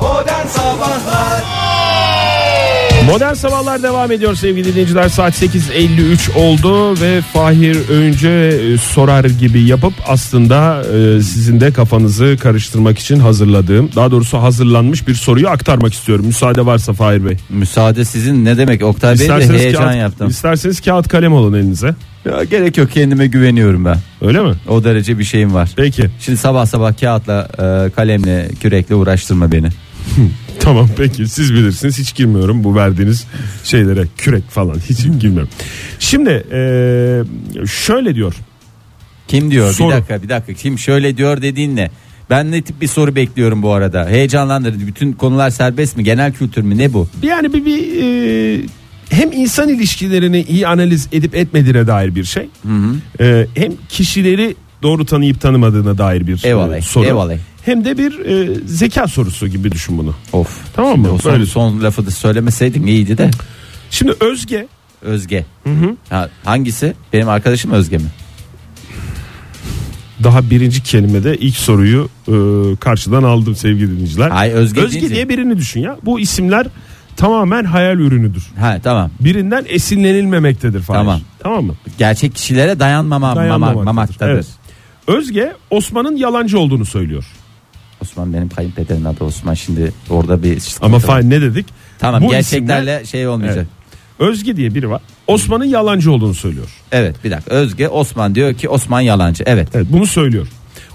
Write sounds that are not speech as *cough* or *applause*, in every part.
Modern Sabahlar Modern Sabahlar devam ediyor sevgili dinleyiciler. Saat 8.53 oldu ve Fahir Öğüncü e, sorar gibi yapıp aslında e, sizin de kafanızı karıştırmak için hazırladığım, daha doğrusu hazırlanmış bir soruyu aktarmak istiyorum. Müsaade varsa Fahir Bey. Müsaade sizin ne demek Oktay Bey de heyecan kağıt, yaptım. isterseniz kağıt kalem alın elinize. Ya gerek yok kendime güveniyorum ben. Öyle mi? O derece bir şeyim var. Peki. *laughs* Şimdi sabah sabah kağıtla e, kalemle kürekle uğraştırma beni. Tamam peki siz bilirsiniz hiç girmiyorum bu verdiğiniz şeylere kürek falan hiç girmiyorum. Şimdi e, şöyle diyor Kim diyor? Soru. Bir dakika bir dakika. Kim şöyle diyor dediğin ne? Ben ne tip bir soru bekliyorum bu arada? Heyecanlandırdı. Bütün konular serbest mi? Genel kültür mü? Ne bu? Yani bir, bir e, hem insan ilişkilerini iyi analiz edip etmediğine dair bir şey. E, hem kişileri doğru tanıyıp tanımadığına dair bir e, Eyvallah, soru. eyvallah. Hem de bir e, zeka sorusu gibi düşün bunu. Of. Tamam mı? Şimdi o son, Böyle. son lafı da söylemeseydim iyiydi de. Şimdi Özge Özge. Ha, hangisi? Benim arkadaşım Özge mi? daha birinci kelimede ilk soruyu e, karşıdan aldım sevgili dinleyiciler. Ay, Özge deyince- diye birini düşün ya. Bu isimler tamamen hayal ürünüdür. Ha tamam. Birinden esinlenilmemektedir falan. Tamam. Tamam mı? Gerçek kişilere dayanmama Dayanmamaktadır. mamaktadır. Evet. Özge Osman'ın yalancı olduğunu söylüyor. Osman benim kayınpederin adı Osman şimdi orada bir sıkıntı Ama var. fail ne dedik? Tamam Bu gerçeklerle isimler- şey olmayacak. Evet. Özge diye biri var. Osman'ın yalancı olduğunu söylüyor. Evet. bir dakika Özge Osman diyor ki Osman yalancı evet. Evet bunu söylüyor.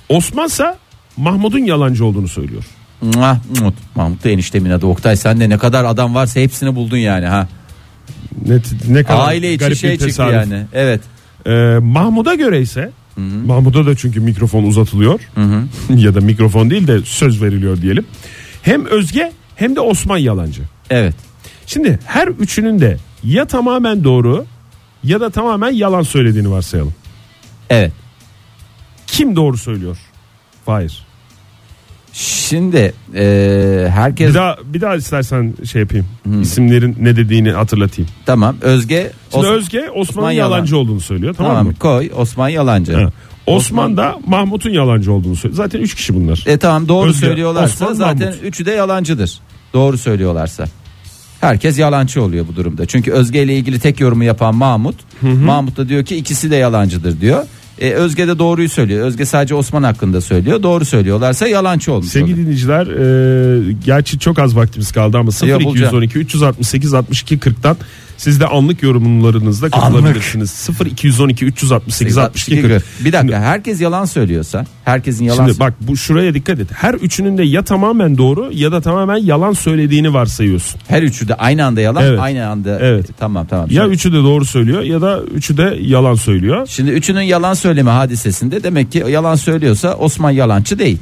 Osman'sa Mahmut'un yalancı olduğunu söylüyor. Mwah, Mahmut. Mahmut da eniştemin adı Oktay sen de ne kadar adam varsa hepsini buldun yani ha. Ne, ne kadar Aile içi garip şey bir çıktı tesadüf. yani evet. Ee, Mahmut'a göre ise Mahmut'a da çünkü mikrofon uzatılıyor. *laughs* ya da mikrofon değil de söz veriliyor diyelim. Hem Özge hem de Osman yalancı. Evet. Şimdi her üçünün de ya tamamen doğru ya da tamamen yalan söylediğini varsayalım. Evet. Kim doğru söylüyor? Hayır. Şimdi e, herkes Bir daha bir daha istersen şey yapayım. Hmm. İsimlerin ne dediğini hatırlatayım. tamam Özge Şimdi Os- Özge Osman'ın Osman yalan. yalancı olduğunu söylüyor tamam, tamam mı? koy Osman yalancı. Ha. Osman da Mahmut'un yalancı olduğunu söylüyor. Zaten 3 kişi bunlar. E tamam doğru Özge, söylüyorlarsa Osman, zaten Mahmut. üçü de yalancıdır. Doğru söylüyorlarsa. Herkes yalancı oluyor bu durumda. Çünkü Özge ile ilgili tek yorumu yapan Mahmut. Mahmut da diyor ki ikisi de yalancıdır diyor. E, Özge de doğruyu söylüyor. Özge sadece Osman hakkında söylüyor. Doğru söylüyorlarsa yalancı olmuş. Sevgili oluyor. dinleyiciler, e, gerçi çok az vaktimiz kaldı ama Ya, bulacağım. 0212 368 62 40'tan siz de anlık yorumlarınızla katılabilirsiniz. 0212 368 62 40. Bir dakika herkes yalan söylüyorsa herkesin yalan Şimdi bak bu şuraya dikkat et. Her üçünün de ya tamamen doğru ya da tamamen yalan söylediğini varsayıyorsun. her üçü de aynı anda yalan Evet. aynı anda Evet. tamam tamam. Ya Şimdi- üçü de doğru söylüyor ya da üçü de yalan söylüyor. Şimdi üçünün yalan söyleme hadisesinde demek ki yalan söylüyorsa Osman yalancı değil.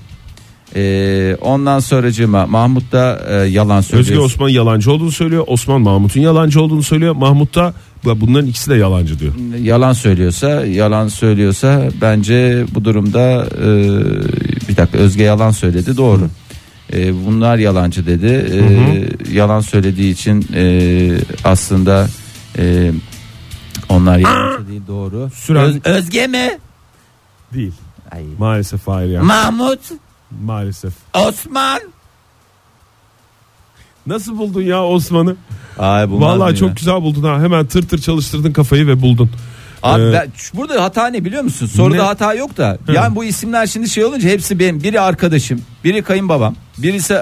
Ee, ondan sonracığıma Mahmut da e, yalan Özge söylüyor. Osman yalancı olduğunu söylüyor. Osman Mahmut'un yalancı olduğunu söylüyor. Mahmut da "Ya bunların ikisi de yalancı diyor. Yalan söylüyorsa yalan söylüyorsa bence bu durumda e, bir dakika Özge yalan söyledi doğru. E, bunlar yalancı dedi. E, yalan söylediği için e, aslında e, onlar *laughs* yalancı değil doğru. Süren- Öz- Özge mi? Değil. Ay. Maalesef hayır yani. Mahmut, Maalesef. Osman. Nasıl buldun ya Osman'ı? Ay, bunlar Vallahi mı çok ya? güzel buldun ha. Hemen tır tır çalıştırdın kafayı ve buldun. Abi Ee, ben- şu- burada hata ne biliyor musun? Soruda Ne? hata yok da. Yani bu isimler şimdi şey olunca hepsi benim. Biri arkadaşım, biri kayınbabam, birisi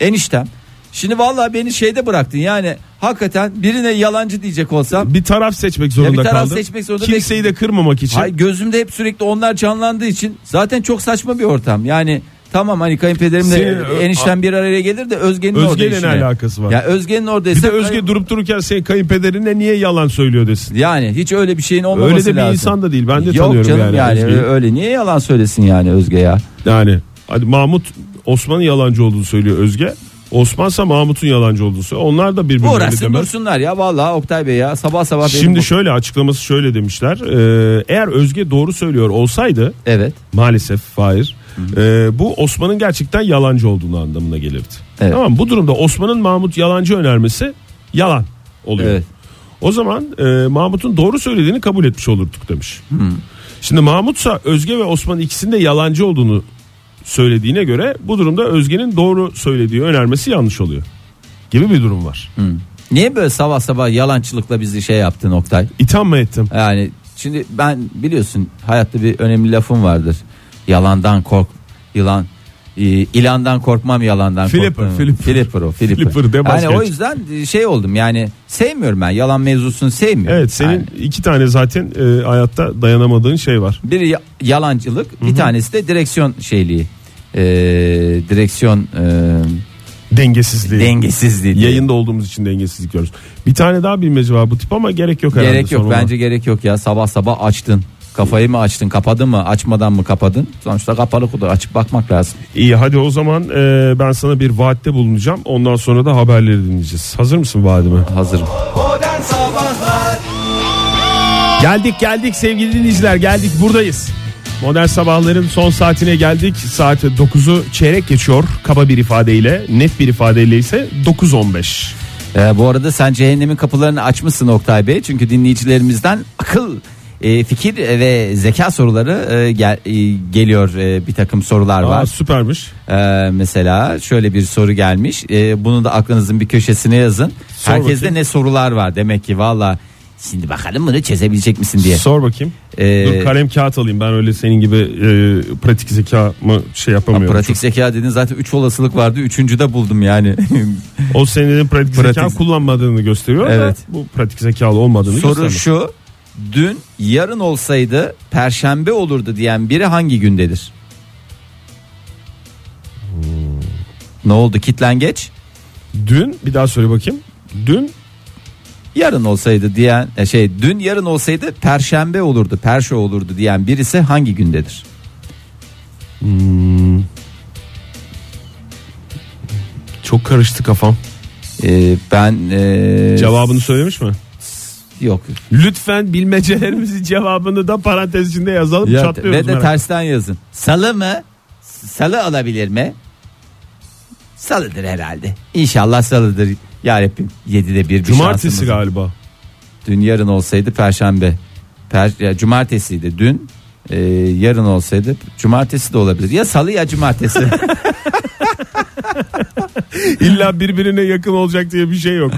eniştem. Şimdi vallahi beni şeyde bıraktın. Yani hakikaten birine yalancı diyecek olsam bir taraf seçmek zorunda Ya bir taraf kaldım. seçmek zorunda Kimseyi de kırmamak için. hay gözümde hep sürekli onlar canlandığı için zaten çok saçma bir ortam. Yani tamam hani kayınpederimle Senin- eniştem bir araya gelir de Özge'nin orada Şey, Özge'yle işine. ne alakası var? Ya Özge'nin Bir oradaysa de Özge kayın- durup dururken senin kayınpederine niye yalan söylüyor desin. yani hiç öyle bir şeyin olmaması Öyle de bir lazım. insan da değil. Ben de Yok tanıyorum canım yani, yani. Özge'yi. öyle niye yalan söylesin yani Özge ya? Yani hadi Mahmut Osman'ın yalancı olduğunu söylüyor Özge. Osman'sa Mahmut'un yalancı olduğunu söylüyor. Onlar da birbirine öyle Uğraşsın demez. dursunlar ya vallahi Oktay Bey ya sabah sabah benim Şimdi bu- şöyle açıklaması şöyle demişler. Ee, eğer Özge doğru söylüyor olsaydı Evet. maalesef hayır. Ee, bu Osman'ın gerçekten yalancı olduğunu anlamına gelirdi. Evet. Tamam mı? bu durumda Osman'ın Mahmut yalancı önermesi yalan oluyor. Evet. O zaman e, Mahmut'un doğru söylediğini kabul Hmm. etmiş olurduk demiş. Şimdi Mahmutsa Özge ve Osman ikisinin de yalancı olduğunu söylediğine göre bu durumda Özge'nin doğru söylediği önermesi yanlış oluyor Hmm. gibi bir durum var. Niye böyle sabah sabah yalançılıkla bizi şey yaptın Oktay? İtham mı ettim? Yani şimdi ben biliyorsun hayatta bir önemli lafım vardır. Yalandan kork, yılan e, ilandan korkmam yalandan Flipper, korkmam. flipper. Flipper o flipper. Flipper de yani vazgeç. o yüzden şey oldum yani sevmiyorum ben yalan mevzusunu sevmiyorum. Evet senin Yani iki tane zaten e, hayatta dayanamadığın şey var. biri ya- yalancılık bir tanesi de direksiyon şeyliği. Ee, direksiyon e, Dengesizliği. dengesizliği. diye. Yayında olduğumuz için dengesizlik görürüz. Bir tane daha bilmece var bu tip ama gerek yok herhalde. Gerek yok sonuna. bence gerek yok ya sabah sabah açtın. Kafayı mı açtın kapadın mı açmadan mı kapadın sonuçta kapalı kutu açıp bakmak lazım. İyi hadi o zaman e, ben sana bir vaatte bulunacağım. Ondan sonra da haberleri dinleyeceğiz. Hazır mısın vaadime? Hazırım. Modern Sabahlar Geldik geldik sevgili dinleyiciler geldik buradayız. Modern sabahların son saatine geldik. Saat 9'u çeyrek geçiyor kaba bir ifadeyle. Net bir ifadeyle ise 9.15. Ee, bu arada sen cehennemin kapılarını açmışsın Oktay Bey. Çünkü dinleyicilerimizden akıl, e, fikir ve zeka soruları e, gel- e, geliyor. E, bir takım sorular Aa, var. süpermiş. Ee, mesela şöyle bir soru gelmiş. Ee, bunu da aklınızın bir köşesine yazın. Sor Herkeste bakayım. ne sorular var demek ki valla. Şimdi bakalım bunu çözebilecek misin diye. Sor bakayım. Ee, Dur kalem kağıt alayım ben öyle senin gibi e, pratik zekamı şey yapamıyorum. Pratik zeka dedin zaten 3 olasılık vardı. Üçüncü de buldum yani. O senin pratik, Pratik- zeka kullanmadığını gösteriyor Evet. da bu pratik zekalı olmadığını Soru gösteriyor. şu. Dün yarın olsaydı perşembe olurdu diyen biri hangi gündedir? Ne oldu kitlengeç? Dün bir daha söyle bakayım. Dün Yarın olsaydı diyen e, şey dün yarın olsaydı perşembe olurdu, perşe olurdu diyen birisi hangi gündedir? çok karıştı kafam. Ee, ben e, Cevabını söylemiş mi? yok. Lütfen *laughs* bilmecelerimizin cevabını da parantez içinde yazalım Ya, çatlıyoruz. ve de merak- tersten yazın. Salı mı? Salı olabilir mi? Salıdır herhalde. İnşallah salıdır. Ya Rabbim 7'de 1 bir şansımız Cumartesi var. galiba. Dün yarın olsaydı perşembe. Per, ya cumartesiydi dün. Ee, yarın olsaydı cumartesi de olabilir. Ya salı ya *laughs* cumartesi. İlla birbirine yakın olacak diye bir şey yok.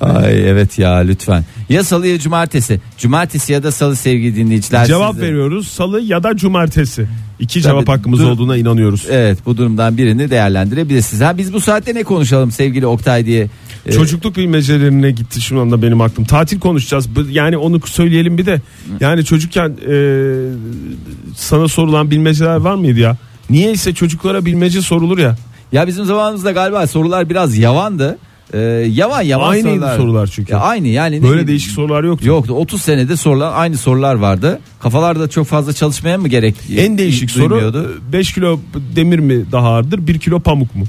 Ay evet ya lütfen. Ya salı ya cumartesi. Cumartesi ya da salı sevgili dinleyiciler. Cevap siz de- veriyoruz salı ya da cumartesi. İki cevap hakkımız dur. E, olduğuna inanıyoruz. Evet bu durumdan birini değerlendirebilirsiniz. Ha biz bu saatte ne konuşalım sevgili Oktay diye. Ee, Çocukluk bilmecelerine gitti şu anda benim aklım. Tatil konuşacağız. Bu- Yani onu söyleyelim bir de. Yani çocukken e, sana sorulan bilmeceler var mıydı ya? Niyeyse çocuklara bilmece sorulur ya. Ya bizim zamanımızda galiba sorular biraz yavandı. Ee, yavan yavan Aynıydı sorular. sorular çünkü. Ya aynı yani. ne Böyle bileyim. değişik sorular yoktu. Yoktu 30 senede sorulan aynı sorular vardı. Kafalarda çok fazla çalışmaya mı gerek? En değişik duymuyordu? soru 5 kilo demir mi daha ağırdır 1 kilo pamuk mu?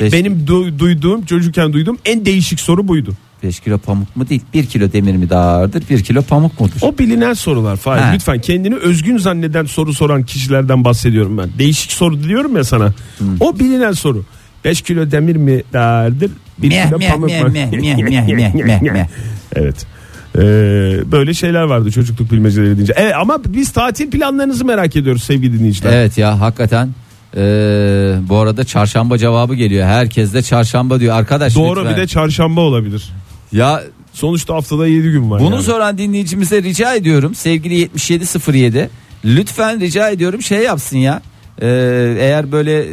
Beş- Benim du- duyduğum çocukken duyduğum en değişik soru buydu. 5 kilo pamuk mu değil 1 kilo demir mi daha ağırdır 1 kilo pamuk mudur? O bilinen sorular Fahir. Ha. Lütfen kendini özgün zanneden soru soran kişilerden bahsediyorum ben. Değişik soru diyorum ya sana. Hmm. O bilinen soru. 5 kilo demir mi daha ağırdır? 1 Meh, kilo meh, pamuk meh, mu? meh, meh, meh, meh, meh, meh. *laughs* Evet. Ee, böyle şeyler vardı çocukluk bilmeceleri deyince. Evet, ama biz tatil planlarınızı merak ediyoruz sevgili dinleyiciler. Evet ya hakikaten. Ee, bu arada çarşamba cevabı geliyor. Herkes de çarşamba diyor arkadaş. Doğru lütfen. bir de çarşamba olabilir. ya Sonuçta haftada 7 gün var. bunu yani. soran dinleyicimize rica ediyorum sevgili 7707 lütfen rica ediyorum şey yapsın ya. Ee, eğer böyle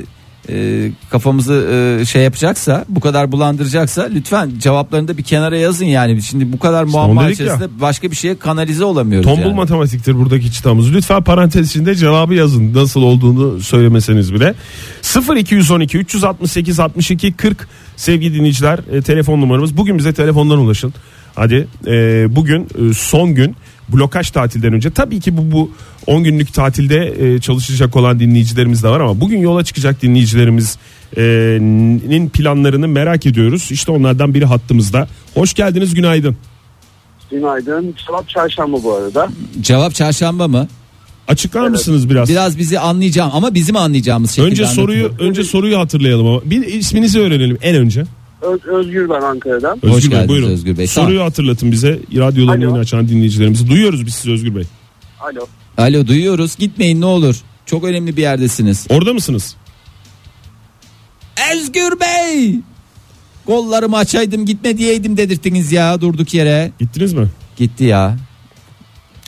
e, kafamızı e, şey yapacaksa bu kadar bulandıracaksa lütfen cevaplarını da bir kenara yazın yani şimdi bu kadar muamma dedik ya. içerisinde başka bir şeye kanalize olamıyoruz Tombul yani. matematiktir buradaki çıtamız. Lütfen parantez içinde cevabı yazın. Nasıl olduğunu söylemeseniz bile. 0212 368 62 40 sevgili dinleyiciler e, telefon numaramız. Bugün bize telefondan ulaşın. Hadi e, bugün e, son gün blokaj tatilden önce tabii ki bu bu 10 günlük tatilde e, çalışacak olan dinleyicilerimiz de var ama bugün yola çıkacak dinleyicilerimiz e, nin planlarını merak ediyoruz. İşte onlardan biri hattımızda. Hoş geldiniz günaydın. Günaydın. Cevap çarşamba bu arada. Cevap çarşamba mı? Açıklar mısınız biraz? Biraz bizi anlayacağım ama bizim anlayacağımız şekilde Önce anlatın. soruyu önce soruyu hatırlayalım ama bir isminizi öğrenelim en önce. Öz- Özgür ben Ankara'dan. Özgür Bey, geldiniz buyurun. Özgür Bey. Soruyu hatırlatın bize. Radyolarını Alo. yeni açan dinleyicilerimizi duyuyoruz biz sizi Özgür Bey. Alo. Alo duyuyoruz gitmeyin ne olur. Çok önemli bir yerdesiniz. Orada mısınız? Özgür Bey! Kollarımı açaydım gitme diyeydim dedirttiniz ya durduk yere. Gittiniz mi? Gitti ya.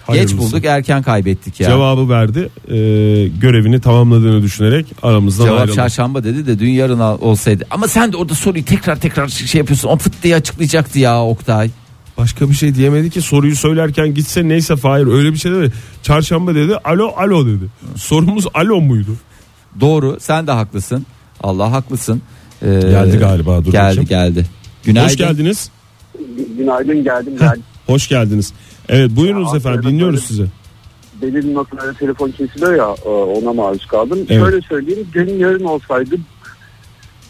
Hayırlısı. Geç bulduk erken kaybettik ya. Cevabı verdi. Ee, görevini tamamladığını düşünerek aramızdan Cevap ayrıldı. çarşamba dedi de dün yarın al- olsaydı. Ama sen de orada soruyu tekrar tekrar şey yapıyorsun. O fıt diye açıklayacaktı ya Oktay. Başka bir şey diyemedi ki soruyu söylerken gitse neyse Fahir öyle bir şey demedi. Çarşamba dedi alo alo dedi. Sorumuz alo muydu? Doğru sen de haklısın. Allah haklısın. Ee, Geldi galiba, dur geldi bakayım. geldi. Günaydın. Hoş geldiniz. Gü- Günaydın geldim Heh, geldim. hoş geldiniz. Evet buyurunuz Ya, efendim aferin, dinliyoruz aferin. sizi. Belirli noktalarda telefon kesiliyor ya e, ona maruz kaldım. Evet. Şöyle söyleyeyim dün yarın olsaydı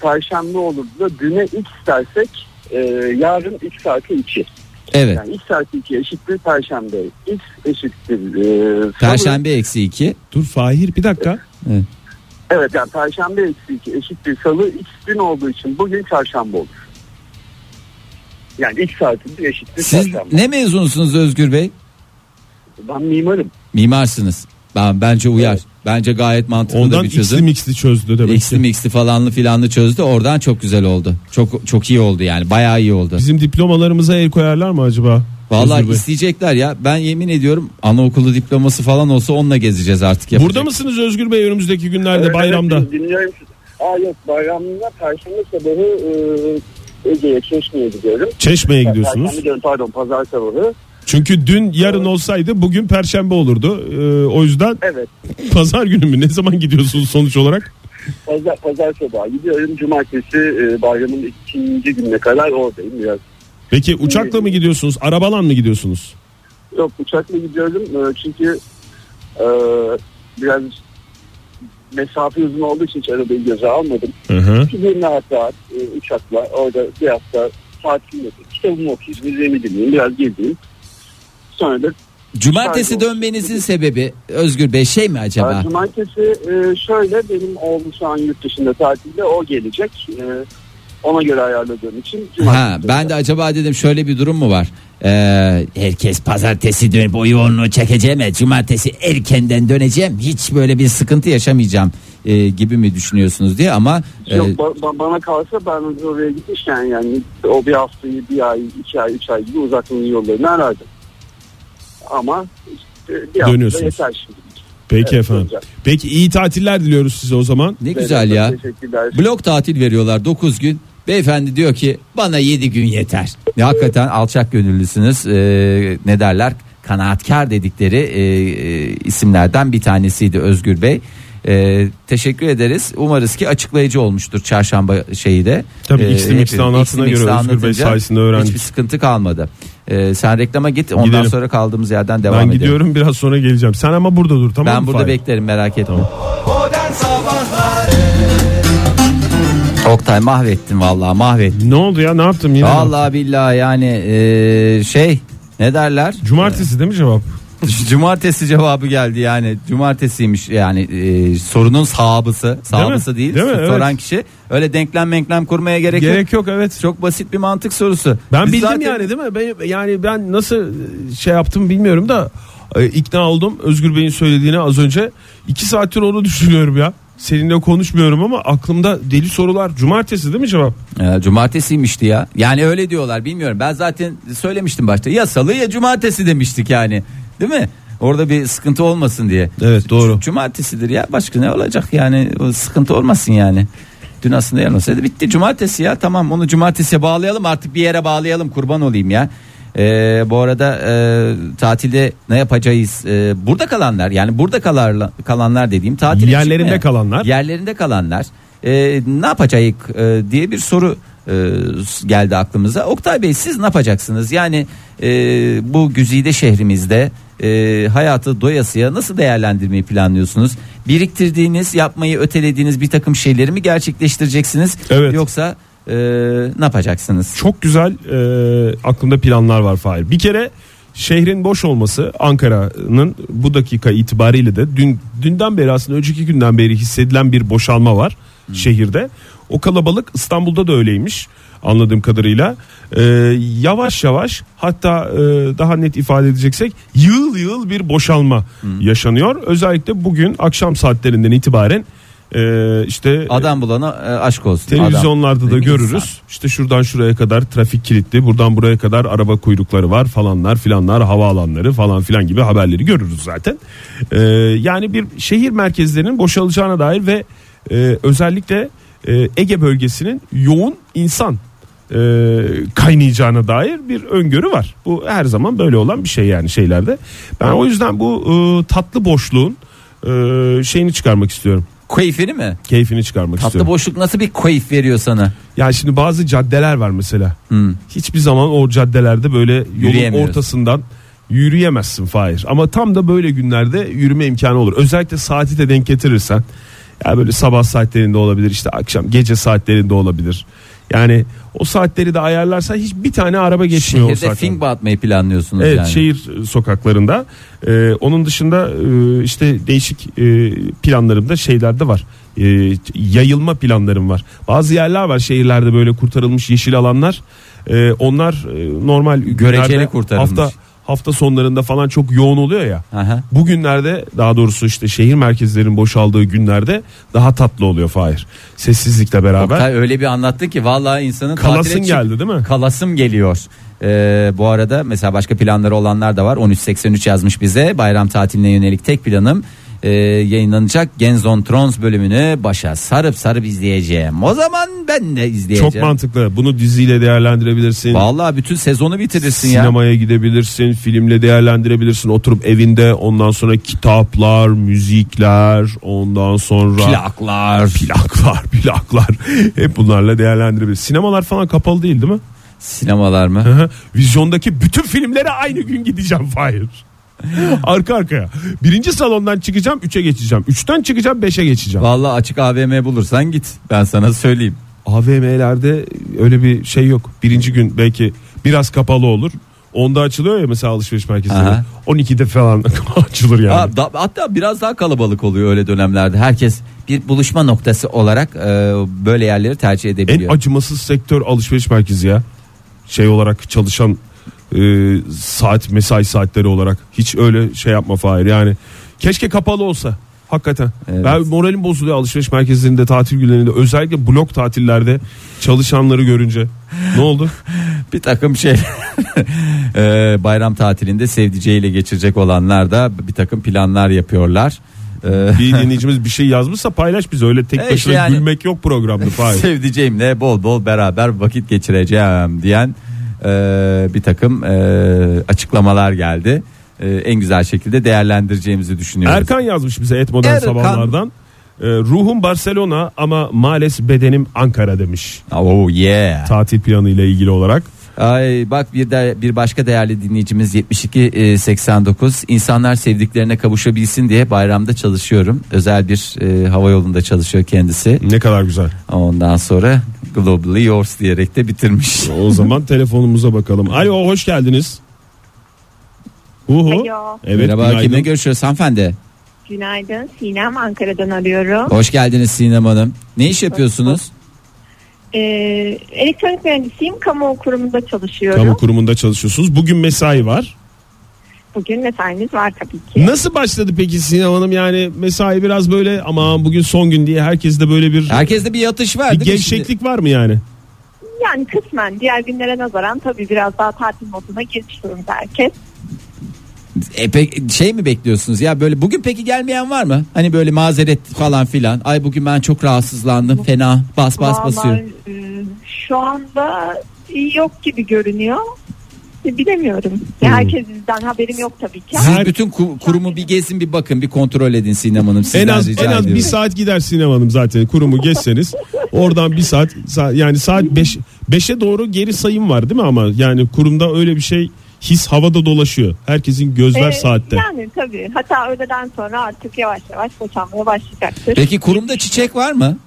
perşembe olurdu da düne x dersek e, yarın x artı 2. Evet. Yani x artı 2 eşittir perşembe. x eşittir. e, salı. Perşembe eksi 2. Dur Fahir bir dakika. Evet yani perşembe eksi 2 eşittir salı x dün olduğu için bugün çarşamba olur. Yani x artı 1 eşittir Siz çarşamba. ne mezunusunuz Özgür Bey? Ben mimarım. Mimarsınız. Ben bence uyar. Bence gayet mantıklı da Ondan bir x'li çözüm. mixli çözdü demek X'li ki. mixli falanlı filanlı çözdü. Oradan çok güzel oldu. Çok çok iyi oldu yani. Bayağı iyi oldu. Bizim diplomalarımıza el koyarlar mı acaba? Vallahi Özgür Bey. isteyecekler ya. Ben yemin ediyorum anaokulu diploması falan olsa onunla gezeceğiz artık. Yapacak. Burada mısınız Özgür Bey önümüzdeki günlerde Evet, bayramda? evet, dinliyorum sizi. Aa yok bayramda perşembe sabahı e, Ege'ye Çeşme'ye gidiyorum. Çeşme'ye gidiyorsunuz. Perşembe diyorum, pardon pazar sabahı. Çünkü dün yarın olsaydı bugün perşembe olurdu. Ee, o yüzden Evet pazar günü mü? Ne zaman gidiyorsunuz sonuç olarak? pazar, pazar sabahı gidiyorum. Cumartesi e, bayramın ikinci gününe kadar oradayım biraz. Peki uçakla mı gidiyorsunuz? Arabalan mı gidiyorsunuz? Yok uçakla gidiyorum e, çünkü e, biraz mesafe uzun olduğu için hiç arabayı göze almadım. Gidiyorum rahat rahat e, uçakla orada bir hafta tatil yapayım. Kitabımı okuyayım, müziğimi dinleyeyim, biraz gezeyim. Sonra da Cumartesi Pardon. dönmenizin sebebi Özgür Bey şey mi acaba? Ee, Cumartesi e, şöyle benim oğlum şu an yurt dışında tatilde o gelecek. E, ona göre ayarladığım için Ha, cumartesi. ben de acaba dedim şöyle bir durum mu var? Ee, herkes pazartesi dönüp o yoğunluğu çekeceğim ya, cumartesi erkenden döneceğim hiç böyle bir sıkıntı yaşamayacağım e, gibi mi düşünüyorsunuz diye ama e, Yok, ba- ba- bana kalsa ben oraya gitmişken yani o bir haftayı bir ay, iki ay, üç ay gibi uzatmanın yollarını arardım. Ama işte bir hafta Dönüyorsunuz. yeter şimdi. Peki Evet, efendim. olacak. Peki iyi tatiller diliyoruz size o zaman. ne güzel ya. Teşekkürler. Blok tatil veriyorlar 9 gün. Beyefendi diyor ki bana 7 gün yeter. Ya hakikaten alçak gönüllüsünüz. Ee, ne derler? Kanaatkar dedikleri e, e, isimlerden bir tanesiydi Özgür Bey. Ee, teşekkür ederiz. Umarız ki açıklayıcı olmuştur çarşamba şeyi de. Tabii Ee, X'li Mix'li hepimiz- anlattığına X'li göre Mix'li Özgür Bey anlatınca sayesinde öğrendik. Hiçbir sıkıntı kalmadı. Ee, sen reklama git ondan Gidelim. sonra kaldığımız yerden devam Ben edelim. gidiyorum biraz sonra geleceğim. Sen ama burada dur tamam Ben mı? burada Fahir? beklerim merak etme. Modern Sabahlar Oktay mahvettin vallahi mahvettin. Ne oldu ya ne yaptım yine? Vallahi billahi yani e, şey ne *laughs* derler? Cumartesi değil mi cevap? Cumartesi cevabı geldi yani. Cumartesiymiş yani e, sorunun sahabısı. Sahabısı değil. Değil mi? Evet. Soran kişi öyle denklem menklem kurmaya gerek, yok. Gerek yok evet. Çok basit bir mantık sorusu. Ben Biz bildim zaten- yani değil mi? Ben, yani ben nasıl şey yaptım bilmiyorum da e, ikna oldum Özgür Bey'in söylediğine az önce. iki saattir onu düşünüyorum ya. Seninle konuşmuyorum ama aklımda deli sorular. Cumartesi değil mi cevap? E, cumartesiymişti ya. Yani öyle diyorlar bilmiyorum. Ben zaten söylemiştim başta. Ya salı ya cumartesi demiştik yani. Değil mi? Orada bir sıkıntı olmasın diye. Evet, doğru. C- Cumartesidir ya başka ne olacak yani O sıkıntı olmasın yani. Dün aslında yarın olsaydı bitti cumartesi ya tamam onu cumartesiye bağlayalım artık bir yere bağlayalım kurban olayım ya. Ee, bu arada e, tatilde ne yapacağız? Ee, burada kalanlar yani burada kalarla, kalanlar dediğim tatile Yerlerinde çıkmaya- kalanlar. Yerlerinde kalanlar e, ne yapacağız e, diye bir soru e, geldi aklımıza. Oktay Bey siz ne yapacaksınız? Yani e, bu güzide şehrimizde e, hayatı doyasıya nasıl değerlendirmeyi planlıyorsunuz? Biriktirdiğiniz, yapmayı ötelediğiniz bir takım şeyleri mi gerçekleştireceksiniz? Evet. Yoksa e, ne yapacaksınız? Çok güzel e, aklımda planlar var Fahir. Bir kere şehrin boş olması Ankara'nın bu dakika itibariyle de dün dünden beri aslında önceki günden beri hissedilen bir boşalma var. şehirde. O kalabalık İstanbul'da da öyleymiş anladığım kadarıyla. Ee, yavaş yavaş hatta e, daha net ifade edeceksek yığıl yığıl bir boşalma yaşanıyor. Özellikle bugün akşam saatlerinden itibaren e, işte Adam bulana e, aşk olsun. Televizyonlarda Adam. da İnsan. görürüz. İşte şuradan şuraya kadar trafik kilitli, buradan buraya kadar araba kuyrukları var falanlar filanlar havaalanları falan filan gibi haberleri görürüz zaten. Ee, yani bir şehir merkezlerinin boşalacağına dair ve e, özellikle e, Ege bölgesinin yoğun insan e, kaynayacağına dair bir öngörü var. Bu her zaman böyle olan bir şey yani şeylerde. Ben o yüzden bu e, tatlı boşluğun e, şeyini çıkarmak istiyorum. Keyfini mi? Keyfini çıkarmak istiyorum. Tatlı boşluk nasıl bir keyif veriyor sana? Yani şimdi bazı caddeler var mesela. Hmm. Hiçbir zaman o caddelerde böyle yolun Yürüyemiyoruz. ortasından yürüyemezsin Fahir. Ama tam da böyle günlerde yürüme imkanı olur. Özellikle saati de denk getirirsen. Ya böyle sabah saatlerinde olabilir işte akşam gece saatlerinde olabilir. Yani o saatleri de ayarlarsan hiç bir tane araba geçmiyor o Şehirde saatlerden. fink atmayı planlıyorsunuz Şey Evet şey- yani. şehir sokaklarında. Ee, onun dışında e, işte değişik e, planlarımda şeyler de var. E, yayılma planlarım var. Bazı yerler var şehirlerde böyle kurtarılmış yeşil alanlar. E, onlar e, normal Göreceli günlerde kurtarılmış. Hafta hafta sonlarında falan çok yoğun oluyor ya. Aha. Bugünlerde daha doğrusu işte şehir merkezlerinin boşaldığı günlerde daha tatlı oluyor Fahir. Sessizlikle beraber. Oktay öyle bir anlattı ki vallahi insanın Kalasın tatile çık- geldi değil mi? Kalasım geliyor. Ee, bu arada mesela başka planları olanlar da var. 1383 yazmış bize. Bayram tatiline yönelik tek planım e, yayınlanacak Genzon Trons bölümünü başa sarıp sarıp izleyeceğim. O zaman ben de izleyeceğim. Çok mantıklı. Bunu diziyle değerlendirebilirsin. Vallahi bütün sezonu bitirirsin ya. Sinemaya gidebilirsin, filmle değerlendirebilirsin. Oturup evinde ondan sonra kitaplar, müzikler, ondan sonra Plaklar. plaklar, *laughs* plaklar. Hep bunlarla değerlendirebilirsin. Sinemalar falan kapalı değil değil mi? Sinemalar mı? Hı hı. Vizyondaki bütün filmlere aynı gün gideceğim *laughs* Fahir. Arka arkaya. Birinci salondan çıkacağım, üçe geçeceğim. Üçten çıkacağım, beşe geçeceğim. Vallahi açık AVM bulursan git. Ben sana söyleyeyim. AVM'lerde öyle bir şey yok. Birinci gün belki biraz kapalı olur. Onda açılıyor ya mesela alışveriş merkezleri. Aha. 12'de falan *laughs* açılır yani. Ha, da- hatta biraz daha kalabalık oluyor öyle dönemlerde. Herkes bir buluşma noktası olarak e, böyle yerleri tercih en edebiliyor. acımasız sektör alışveriş merkezi ya. Şey olarak çalışan e, saat mesai saatleri olarak hiç öyle şey yapma Fahir yani. Keşke kapalı olsa. Hakikaten. Evet. Ben moralim bozuluyor alışveriş merkezlerinde tatil günlerinde özellikle blok tatillerde çalışanları görünce. *laughs* Ne oldu? bir takım şey *laughs* Ee, bayram tatilinde sevdiceğiyle geçirecek olanlar da bir takım planlar yapıyorlar. Ee, Bir dinleyicimiz bir şey yazmışsa paylaş bize. Öyle tek E işte başına yani. gülmek yok programda *laughs* Fahir. sevdiceğimle bol bol beraber vakit geçireceğim diyen e, bir takım e, açıklamalar geldi. E, en güzel şekilde değerlendireceğimizi düşünüyoruz. Erkan yazmış bize et modern Erkan. sabahlardan. E, ruhum Barcelona ama maalesef bedenim Ankara demiş. Oh yeah. Tatil planı ile ilgili olarak. Ay bak bir de bir başka değerli dinleyicimiz 72 e, 89 insanlar sevdiklerine kavuşabilsin diye bayramda çalışıyorum. Özel bir e, hava yolunda çalışıyor kendisi. Ne kadar güzel. Ondan sonra Globally Yours diyerek de bitirmiş. *laughs* O zaman telefonumuza bakalım. Alo hoş geldiniz. Uhu. Alo. Evet Merhaba günaydın. kimle görüşüyoruz hanımefendi? Günaydın. Sinem Ankara'dan arıyorum. Hoş geldiniz Sinem Hanım. Ne iş yapıyorsunuz? Ee, elektronik mühendisiyim. Kamu kurumunda çalışıyorum. Kamu kurumunda çalışıyorsunuz. Bugün mesai var. Bugün mesaimiz var tabii ki. Nasıl başladı peki Sinem Hanım? Yani mesai biraz böyle aman bugün son gün diye herkes de böyle bir, Herkeste bir yatış var bir değil mi şimdi? gevşeklik var mı yani? Yani kısmen diğer günlere nazaran tabii biraz daha tatil moduna girmiş durumda herkes. E, pek- şey mi bekliyorsunuz ya böyle bugün peki gelmeyen var mı? Hani böyle mazeret falan filan. Ay bugün ben çok rahatsızlandım fena bas bas Vallahi, basıyorum. e, şu anda yok gibi görünüyor. E, Bilemiyorum. Ya Herkes bizden haberim yok tabii ki. Siz Her- bütün ku- kurumu bir gezin bir bakın bir kontrol edin Sinem Hanım. Sizden en az rica en az bir ediyorum. saat gider Sinem Hanım zaten kurumu geçseniz. Oradan bir saat sa- yani saat 5 5'e doğru geri sayım var değil mi ama yani kurumda öyle bir şey his havada dolaşıyor. Herkesin gözler E, saatte. Yani tabii. Hatta öğleden sonra artık yavaş yavaş boşanmaya başlayacaktır. Peki kurumda çiçek var mı?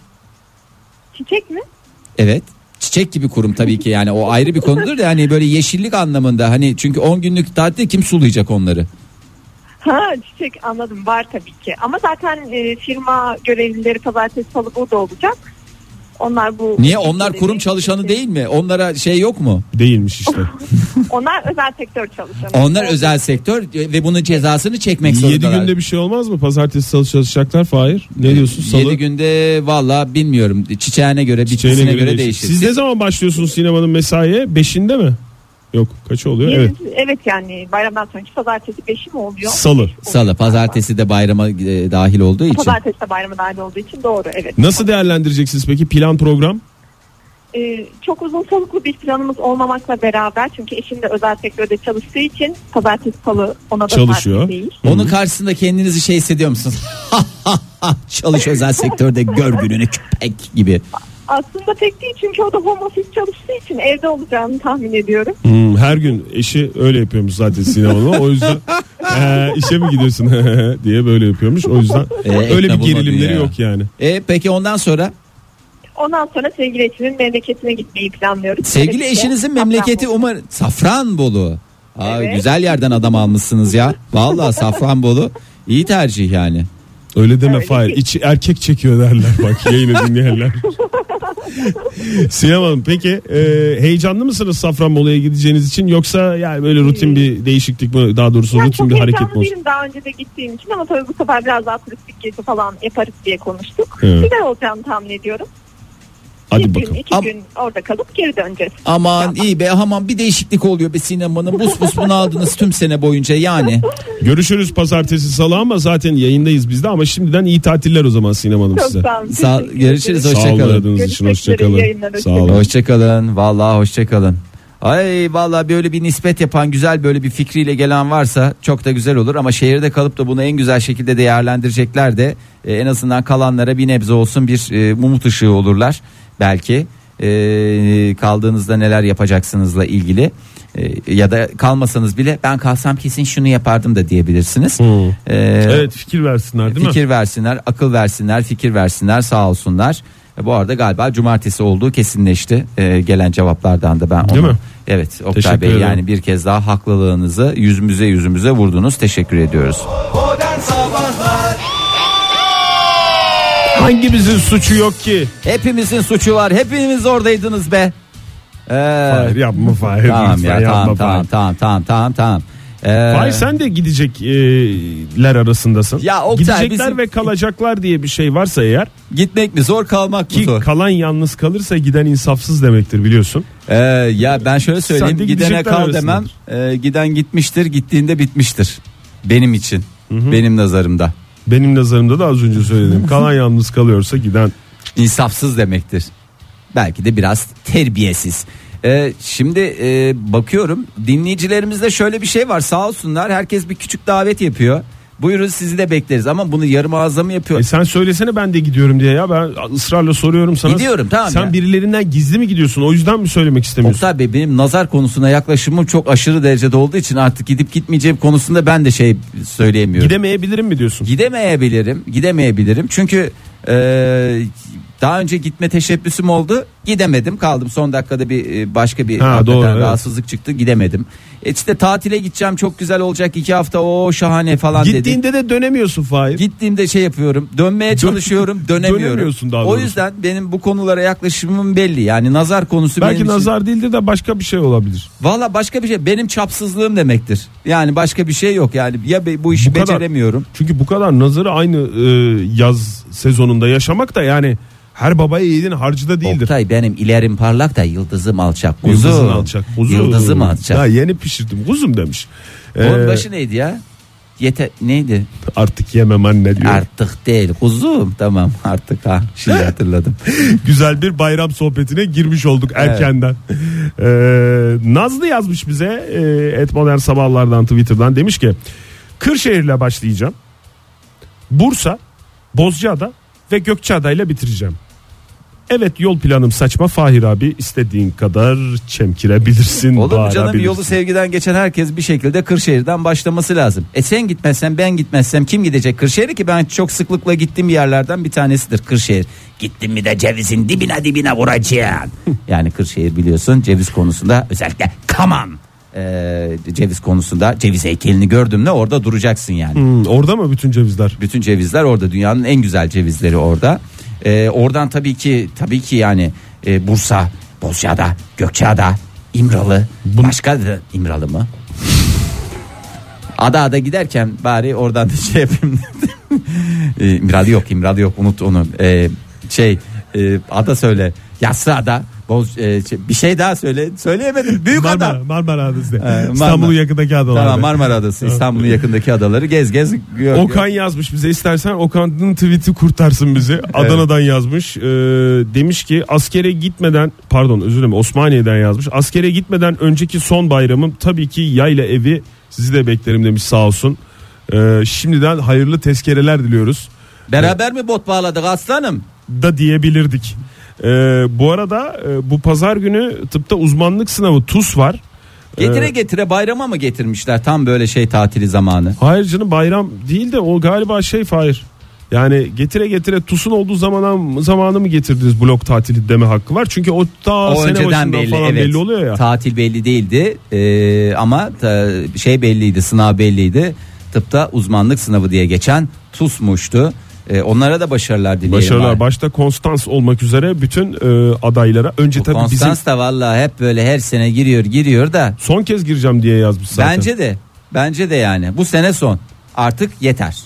Çiçek mi? Evet. Çiçek gibi kurum tabii ki yani o ayrı bir konudur da yani böyle yeşillik anlamında hani çünkü 10 günlük tatilde kim sulayacak onları? Ha çiçek anladım var tabii ki. Ama zaten e, firma görevlileri pazartesi salı burada olacak. Onlar bu Niye onlar kurum çalışanı değil mi? Onlara şey yok mu? Değilmiş işte. Onlar özel sektör çalışanı. Onlar özel sektör ve bunun cezasını çekmek 7 zorundalar. günde bir şey olmaz mı? Pazartesi salı çalışacaklar Fahir. Ne diyorsun? Salı. 7 günde valla bilmiyorum. Çiçeğine göre, bitkisine Şeyine göre, göre değişir. değişir. Siz ne zaman başlıyorsunuz sinemanın mesaiye? 5'inde mi? Yok kaçı oluyor? Evet. Evet. evet yani bayramdan sonraki pazartesi 5'i mi oluyor? Salı. Salı, pazartesi de bayrama e, dahil olduğu için. Pazartesi de bayramı dahil olduğu için doğru evet. Nasıl değerlendireceksiniz peki plan program? Ee, çok uzun soluklu bir planımız olmamakla beraber çünkü eşim de özel sektörde çalıştığı için pazartesi salı ona da Çalışıyor. tatil değil. Onun karşısında kendinizi şey hissediyor musunuz? *laughs* Çalış özel sektörde gör gününü köpek gibi. Aslında pek değil çünkü o da home office çalıştığı için evde olacağını tahmin ediyorum. Hmm, her gün eşi öyle yapıyormuş zaten sinemada. O *laughs* yüzden "Ee, işe mi gidiyorsun *laughs* diye böyle yapıyormuş. O yüzden Ee, öyle ekle bir gerilimleri bulmadın ya. yok yani. E peki ondan sonra Ondan sonra sevgili eşimin memleketine gitmeyi planlıyoruz. şey sevgili Böylece eşinizin memleketi Safranbolu. umar Safranbolu. Aa, Evet. Güzel yerden adam almışsınız ya. Vallahi Safranbolu iyi tercih yani. Öyle deme Öyle Fahir. ki- İçi erkek çekiyor derler *laughs* bak yayını dinleyenler. Sinem Hanım peki e, heyecanlı mısınız Safranbolu'ya gideceğiniz için yoksa yani böyle rutin bir değişiklik mi daha doğrusu Yani rutin çok bir heyecanlı hareket mi olsun? değilim daha önce de gittiğim için ama tabii bu sefer biraz daha turistik gezi falan yaparız diye konuştuk. Evet. Güzel olacağını tahmin ediyorum. Hadi bir gün, bakalım. iki Am- gün orada kalıp geri döneceğiz. Aman iyi be aman bir değişiklik oluyor be sinemanın. Bus bus bunu aldınız tüm sene boyunca yani. Görüşürüz pazartesi salı ama zaten yayındayız biz de ama şimdiden iyi tatiller o zaman Sinem Hanım Çok size. sağ olun. Sağ, Teşekkür görüşürüz ederim. Sağ olun hoşçakalın. aradığınız için Görüşmek üzere, hoşçakalın. iyi yayınlar, Sağ hoşçakalın. olun. Hoşçakalın. Vallahi hoşçakalın. Ay vallahi böyle bir nispet yapan güzel böyle bir fikriyle gelen varsa çok da güzel olur ama şehirde kalıp da bunu en güzel şekilde değerlendirecekler de e, en azından kalanlara bir nebze olsun bir e, umut ışığı olurlar belki E, kaldığınızda neler yapacaksınızla ilgili E, ya da kalmasanız bile ben kalsam kesin şunu yapardım da diyebilirsiniz. Hmm. E, Evet fikir versinler değil mi? fikir versinler, akıl versinler, fikir versinler, sağ olsunlar. E, Bu arada galiba cumartesi olduğu kesinleşti. E, gelen cevaplardan da ben onu. Değil mi? Evet Oktay Teşekkür Bey ederim. yani bir kez daha haklılığınızı yüzümüze yüzümüze vurdunuz. Teşekkür ediyoruz. Modern Sabahlar Hangimizin suçu yok ki? Hepimizin suçu var. Hepiniz oradaydınız be. Ee, Hayır yapma Fahir. tamam lütfen ya tamam yapma tamam, Fahir. tamam tamam tamam tamam. Ee, Fahir sen de gidecekler arasındasın. Ya Oktay, Gidecekler bizim- ve kalacaklar diye bir şey varsa eğer gitmek mi zor kalmak mı ki zor? kalan yalnız kalırsa giden insafsız demektir biliyorsun. Ee, ya ben şöyle söyleyeyim Sen de gidene gidecekler kal demem Ee, giden gitmiştir gittiğinde bitmiştir benim için benim nazarımda Benim nazarımda da az *laughs* önce söyledim. kalan yalnız kalıyorsa giden insafsız demektir belki de biraz terbiyesiz Ee, şimdi e, bakıyorum dinleyicilerimizde şöyle bir şey var sağ olsunlar herkes bir küçük davet yapıyor buyurun sizi de bekleriz ama bunu yarım ağızla mı yapıyor E sen söylesene ben de gidiyorum diye ya ben ısrarla soruyorum sana. Gidiyorum, tamam Sen ya. birilerinden gizli mi gidiyorsun o yüzden mi söylemek istemiyorsun? Oktay Bey benim nazar konusuna yaklaşımım çok aşırı derecede olduğu için artık gidip gitmeyeceğim konusunda ben de şey söyleyemiyorum. Gidemeyebilirim mi diyorsun? Gidemeyebilirim, gidemeyebilirim. Çünkü e, daha önce gitme teşebbüsüm oldu. Gidemedim, kaldım. Son dakikada bir e, başka bir Ha, hakikaten doğru, evet. rahatsızlık çıktı, gidemedim. E işte tatile gideceğim, çok güzel olacak. iki hafta o şahane falan dedim. Gittiğinde de dönemiyorsun Fahir. Gittiğimde şey yapıyorum. Dönmeye *laughs* çalışıyorum, dönemiyorum. Dönemiyorsun daha o doğrusu. yüzden benim bu konulara yaklaşımım belli. Yani nazar konusu Belki benim için- nazar değildir de başka bir şey olabilir. Valla başka bir şey benim çapsızlığım demektir. Yani başka bir şey yok. Yani ya be- bu işi Bu kadar. beceremiyorum. Çünkü bu kadar nazarı aynı e, yaz sezonunda yaşamak da yani her babaya yiğidin harcı da değildir. Oktay benim ilerim parlak da yıldızım alçak. Uzun. Yıldızını alacak. Uzun. Yıldızım alçak. Daha yeni pişirdim. Kuzum demiş. Onun Ee, başı neydi ya? Yete neydi? Artık yemem anne diyor. Artık değil. Kuzum tamam artık ha. Şimdi hatırladım. Güzel bir bayram sohbetine girmiş olduk erkenden. Ee, Nazlı yazmış bize e, et modern sabahlardan Twitter'dan demiş ki Kırşehir'le başlayacağım. Bursa, Bozcaada ve Gökçeada ile bitireceğim. Evet yol planım saçma Fahir abi istediğin kadar çemkirebilirsin. Oğlum canım bağırabilirsin. yolu sevgiden geçen herkes bir şekilde Kırşehir'den başlaması lazım. E sen gitmezsen ben gitmezsem kim gidecek Kırşehir'e ki ben çok sıklıkla gittiğim yerlerden bir tanesidir Kırşehir. Gittim mi de cevizin dibine dibine vuracaksın. yani Kırşehir biliyorsun ceviz konusunda özellikle kaman e, ceviz konusunda ceviz heykelini gördüm ne orada duracaksın yani. Hmm, orada mı bütün cevizler? Bütün cevizler orada dünyanın en güzel cevizleri orada. E, oradan tabii ki tabii ki yani e, Bursa, Bozcaada, Gökçeada, İmralı, başka da- İmralı mı? Ada ada giderken bari oradan da şey yapayım. dedim. *laughs* E, İmralı yok, İmralı yok. Unut onu. E, şey, e, ada söyle. Yassı ada. Boz, e, şey- bir şey daha söyle. Söyleyemedim. Büyük ada. Marmara, Marmara Adası. de. Ee, Marmara. İstanbul'un yakındaki adalarda. Tamam Marmara Adası İstanbul'un yakındaki adaları gez gez gör. Okan yazmış bize istersen Okan'ın tweet'i kurtarsın bizi. Adana'dan yazmış. Ee, demiş ki askere gitmeden pardon özür dilerim Osmaniye'den yazmış. Askere gitmeden önceki son bayramım tabii ki yayla evi sizi de beklerim demiş sağ olsun. Ee, şimdiden hayırlı tezkereler diliyoruz Beraber mi bot bağladık aslanım? da diyebilirdik. Ee, bu arada e, bu pazar günü tıpta uzmanlık sınavı TUS var. Getire Ee, getire bayrama mı getirmişler tam böyle şey tatili zamanı? Hayır canım bayram değil de o galiba şey Fahir. Yani getire getire TUS'un olduğu zamana, zamanı mı getirdiniz blok tatili deme hakkı var. Çünkü o ta o sene başından önceden belli, falan evet. belli oluyor ya. Tatil belli değildi Ee, ama ta- şey belliydi sınav belliydi. Tıpta uzmanlık sınavı diye geçen TUS'muştu. Ee, onlara da başarılar dileyelim. Başarılar abi. başta Konstans olmak üzere bütün e, adaylara. Önce Bu tabii Konstans bizim da vallahi hep böyle her sene giriyor giriyor da son kez gireceğim diye yazmış zaten. Bence de. Bence de yani. Bu sene son. Artık yeter.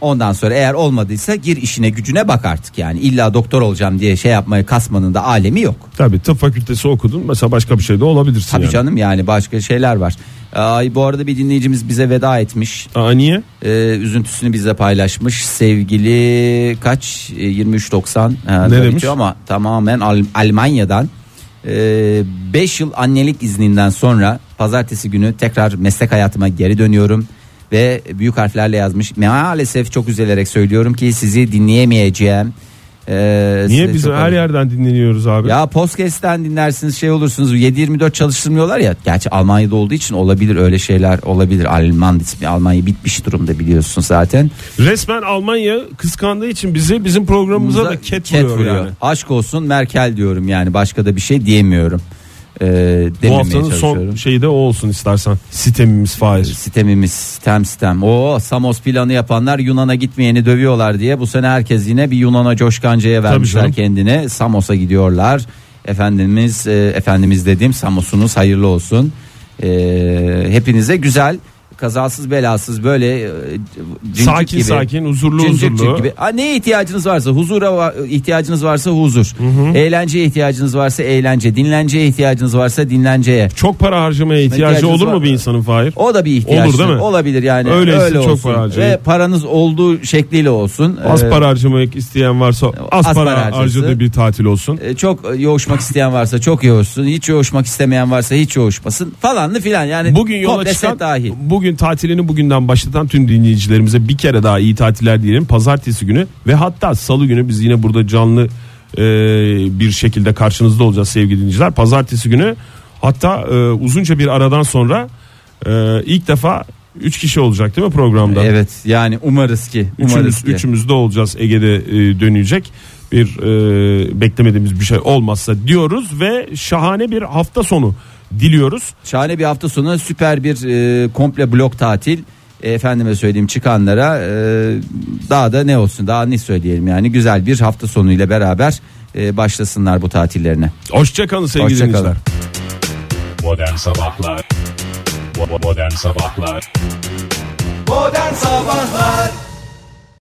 Ondan sonra eğer olmadıysa gir işine gücüne bak artık yani. İlla doktor olacağım diye şey yapmaya kasmanın da alemi yok. Tabii tıp fakültesi okudun mesela başka bir şey de olabilirsin Tabii yani. canım yani başka şeyler var. Ay bu arada bir dinleyicimiz bize veda etmiş. Aa, niye? Ee, üzüntüsünü bize paylaşmış. Sevgili kaç? Ee, 23.90 ha, Ne tabii demiş? ki ama tamamen Al- Almanya'dan 5 yıl annelik izninden sonra pazartesi günü tekrar meslek hayatıma geri dönüyorum ve büyük harflerle yazmış. Maalesef çok üzülerek söylüyorum ki sizi dinleyemeyeceğim. Ee, Niye size biz çok- her yerden dinleniyoruz abi? ya podcast'ten dinlersiniz şey olursunuz 7-24 çalıştırmıyorlar ya. Gerçi Almanya'da olduğu için olabilir öyle şeyler olabilir. Alman ismi Almanya bitmiş durumda biliyorsun zaten. Resmen Almanya kıskandığı için bizi bizim programımıza da ket, vuruyor, yani. Aşk olsun Merkel diyorum yani başka da bir şey diyemiyorum. Ee, Bu dememeye haftanın son çalışıyorum. şeyi de o olsun istersen. Sitemimiz Fahir. Sitemimiz sitem sitem. O Samos planı yapanlar Yunan'a gitmeyeni dövüyorlar diye bu sene herkes yine bir Yunan'a coşkancaya vermişler canım. kendini. Samos'a gidiyorlar. Efendimiz e, efendimiz dediğim Samos'unuz hayırlı olsun. E, hepinize güzel kazasız belasız böyle e, cincik Sakin gibi, sakin, huzurlu cincik huzurlu. cincik gibi. Ha, neye ihtiyacınız varsa huzura va- ihtiyacınız varsa huzur. Eğlenceye ihtiyacınız varsa eğlence. Dinlenceye ihtiyacınız varsa dinlenceye. Çok para harcamaya ihtiyacı İhtiyacınız olur var. mu bir insanın Fahir? O da bir ihtiyaç. Olur değil mi? Olabilir yani. Öyleyse Öyle çok olsun. para harcayın. Ve paranız olduğu şekliyle olsun. Az Ee, para harcamak isteyen varsa az, az para, para harcasın. harcadığı bir tatil olsun. e, Çok yoğuşmak isteyen varsa çok yoğuşsun. Hiç yoğuşmak istemeyen varsa hiç yoğuşmasın. Falanlı filan yani. Bugün yola komple çıkan, set dahil. bugün tatilini bugünden başlatan tüm dinleyicilerimize bir kere daha iyi tatiller diyelim. Pazartesi günü ve hatta salı günü biz yine burada canlı e, bir şekilde karşınızda olacağız sevgili dinleyiciler. Pazartesi günü hatta e, uzunca bir aradan sonra e, ilk defa 3 kişi olacak değil mi programda? Evet yani umarız ki. Umarız Üçümüz, ki. üçümüz de olacağız Ege'de e, dönecek bir e, beklemediğimiz bir şey olmazsa diyoruz ve şahane bir hafta sonu diliyoruz. Şahane bir hafta sonu süper bir e, komple blok tatil. E, efendime söyleyeyim çıkanlara e, daha da ne olsun daha ne söyleyelim yani güzel bir hafta sonuyla beraber e, başlasınlar bu tatillerine. Hoşçakalın sevgili Hoşça kalın. dinleyiciler. Modern Sabahlar Bo- bo- Modern Sabahlar Modern Sabahlar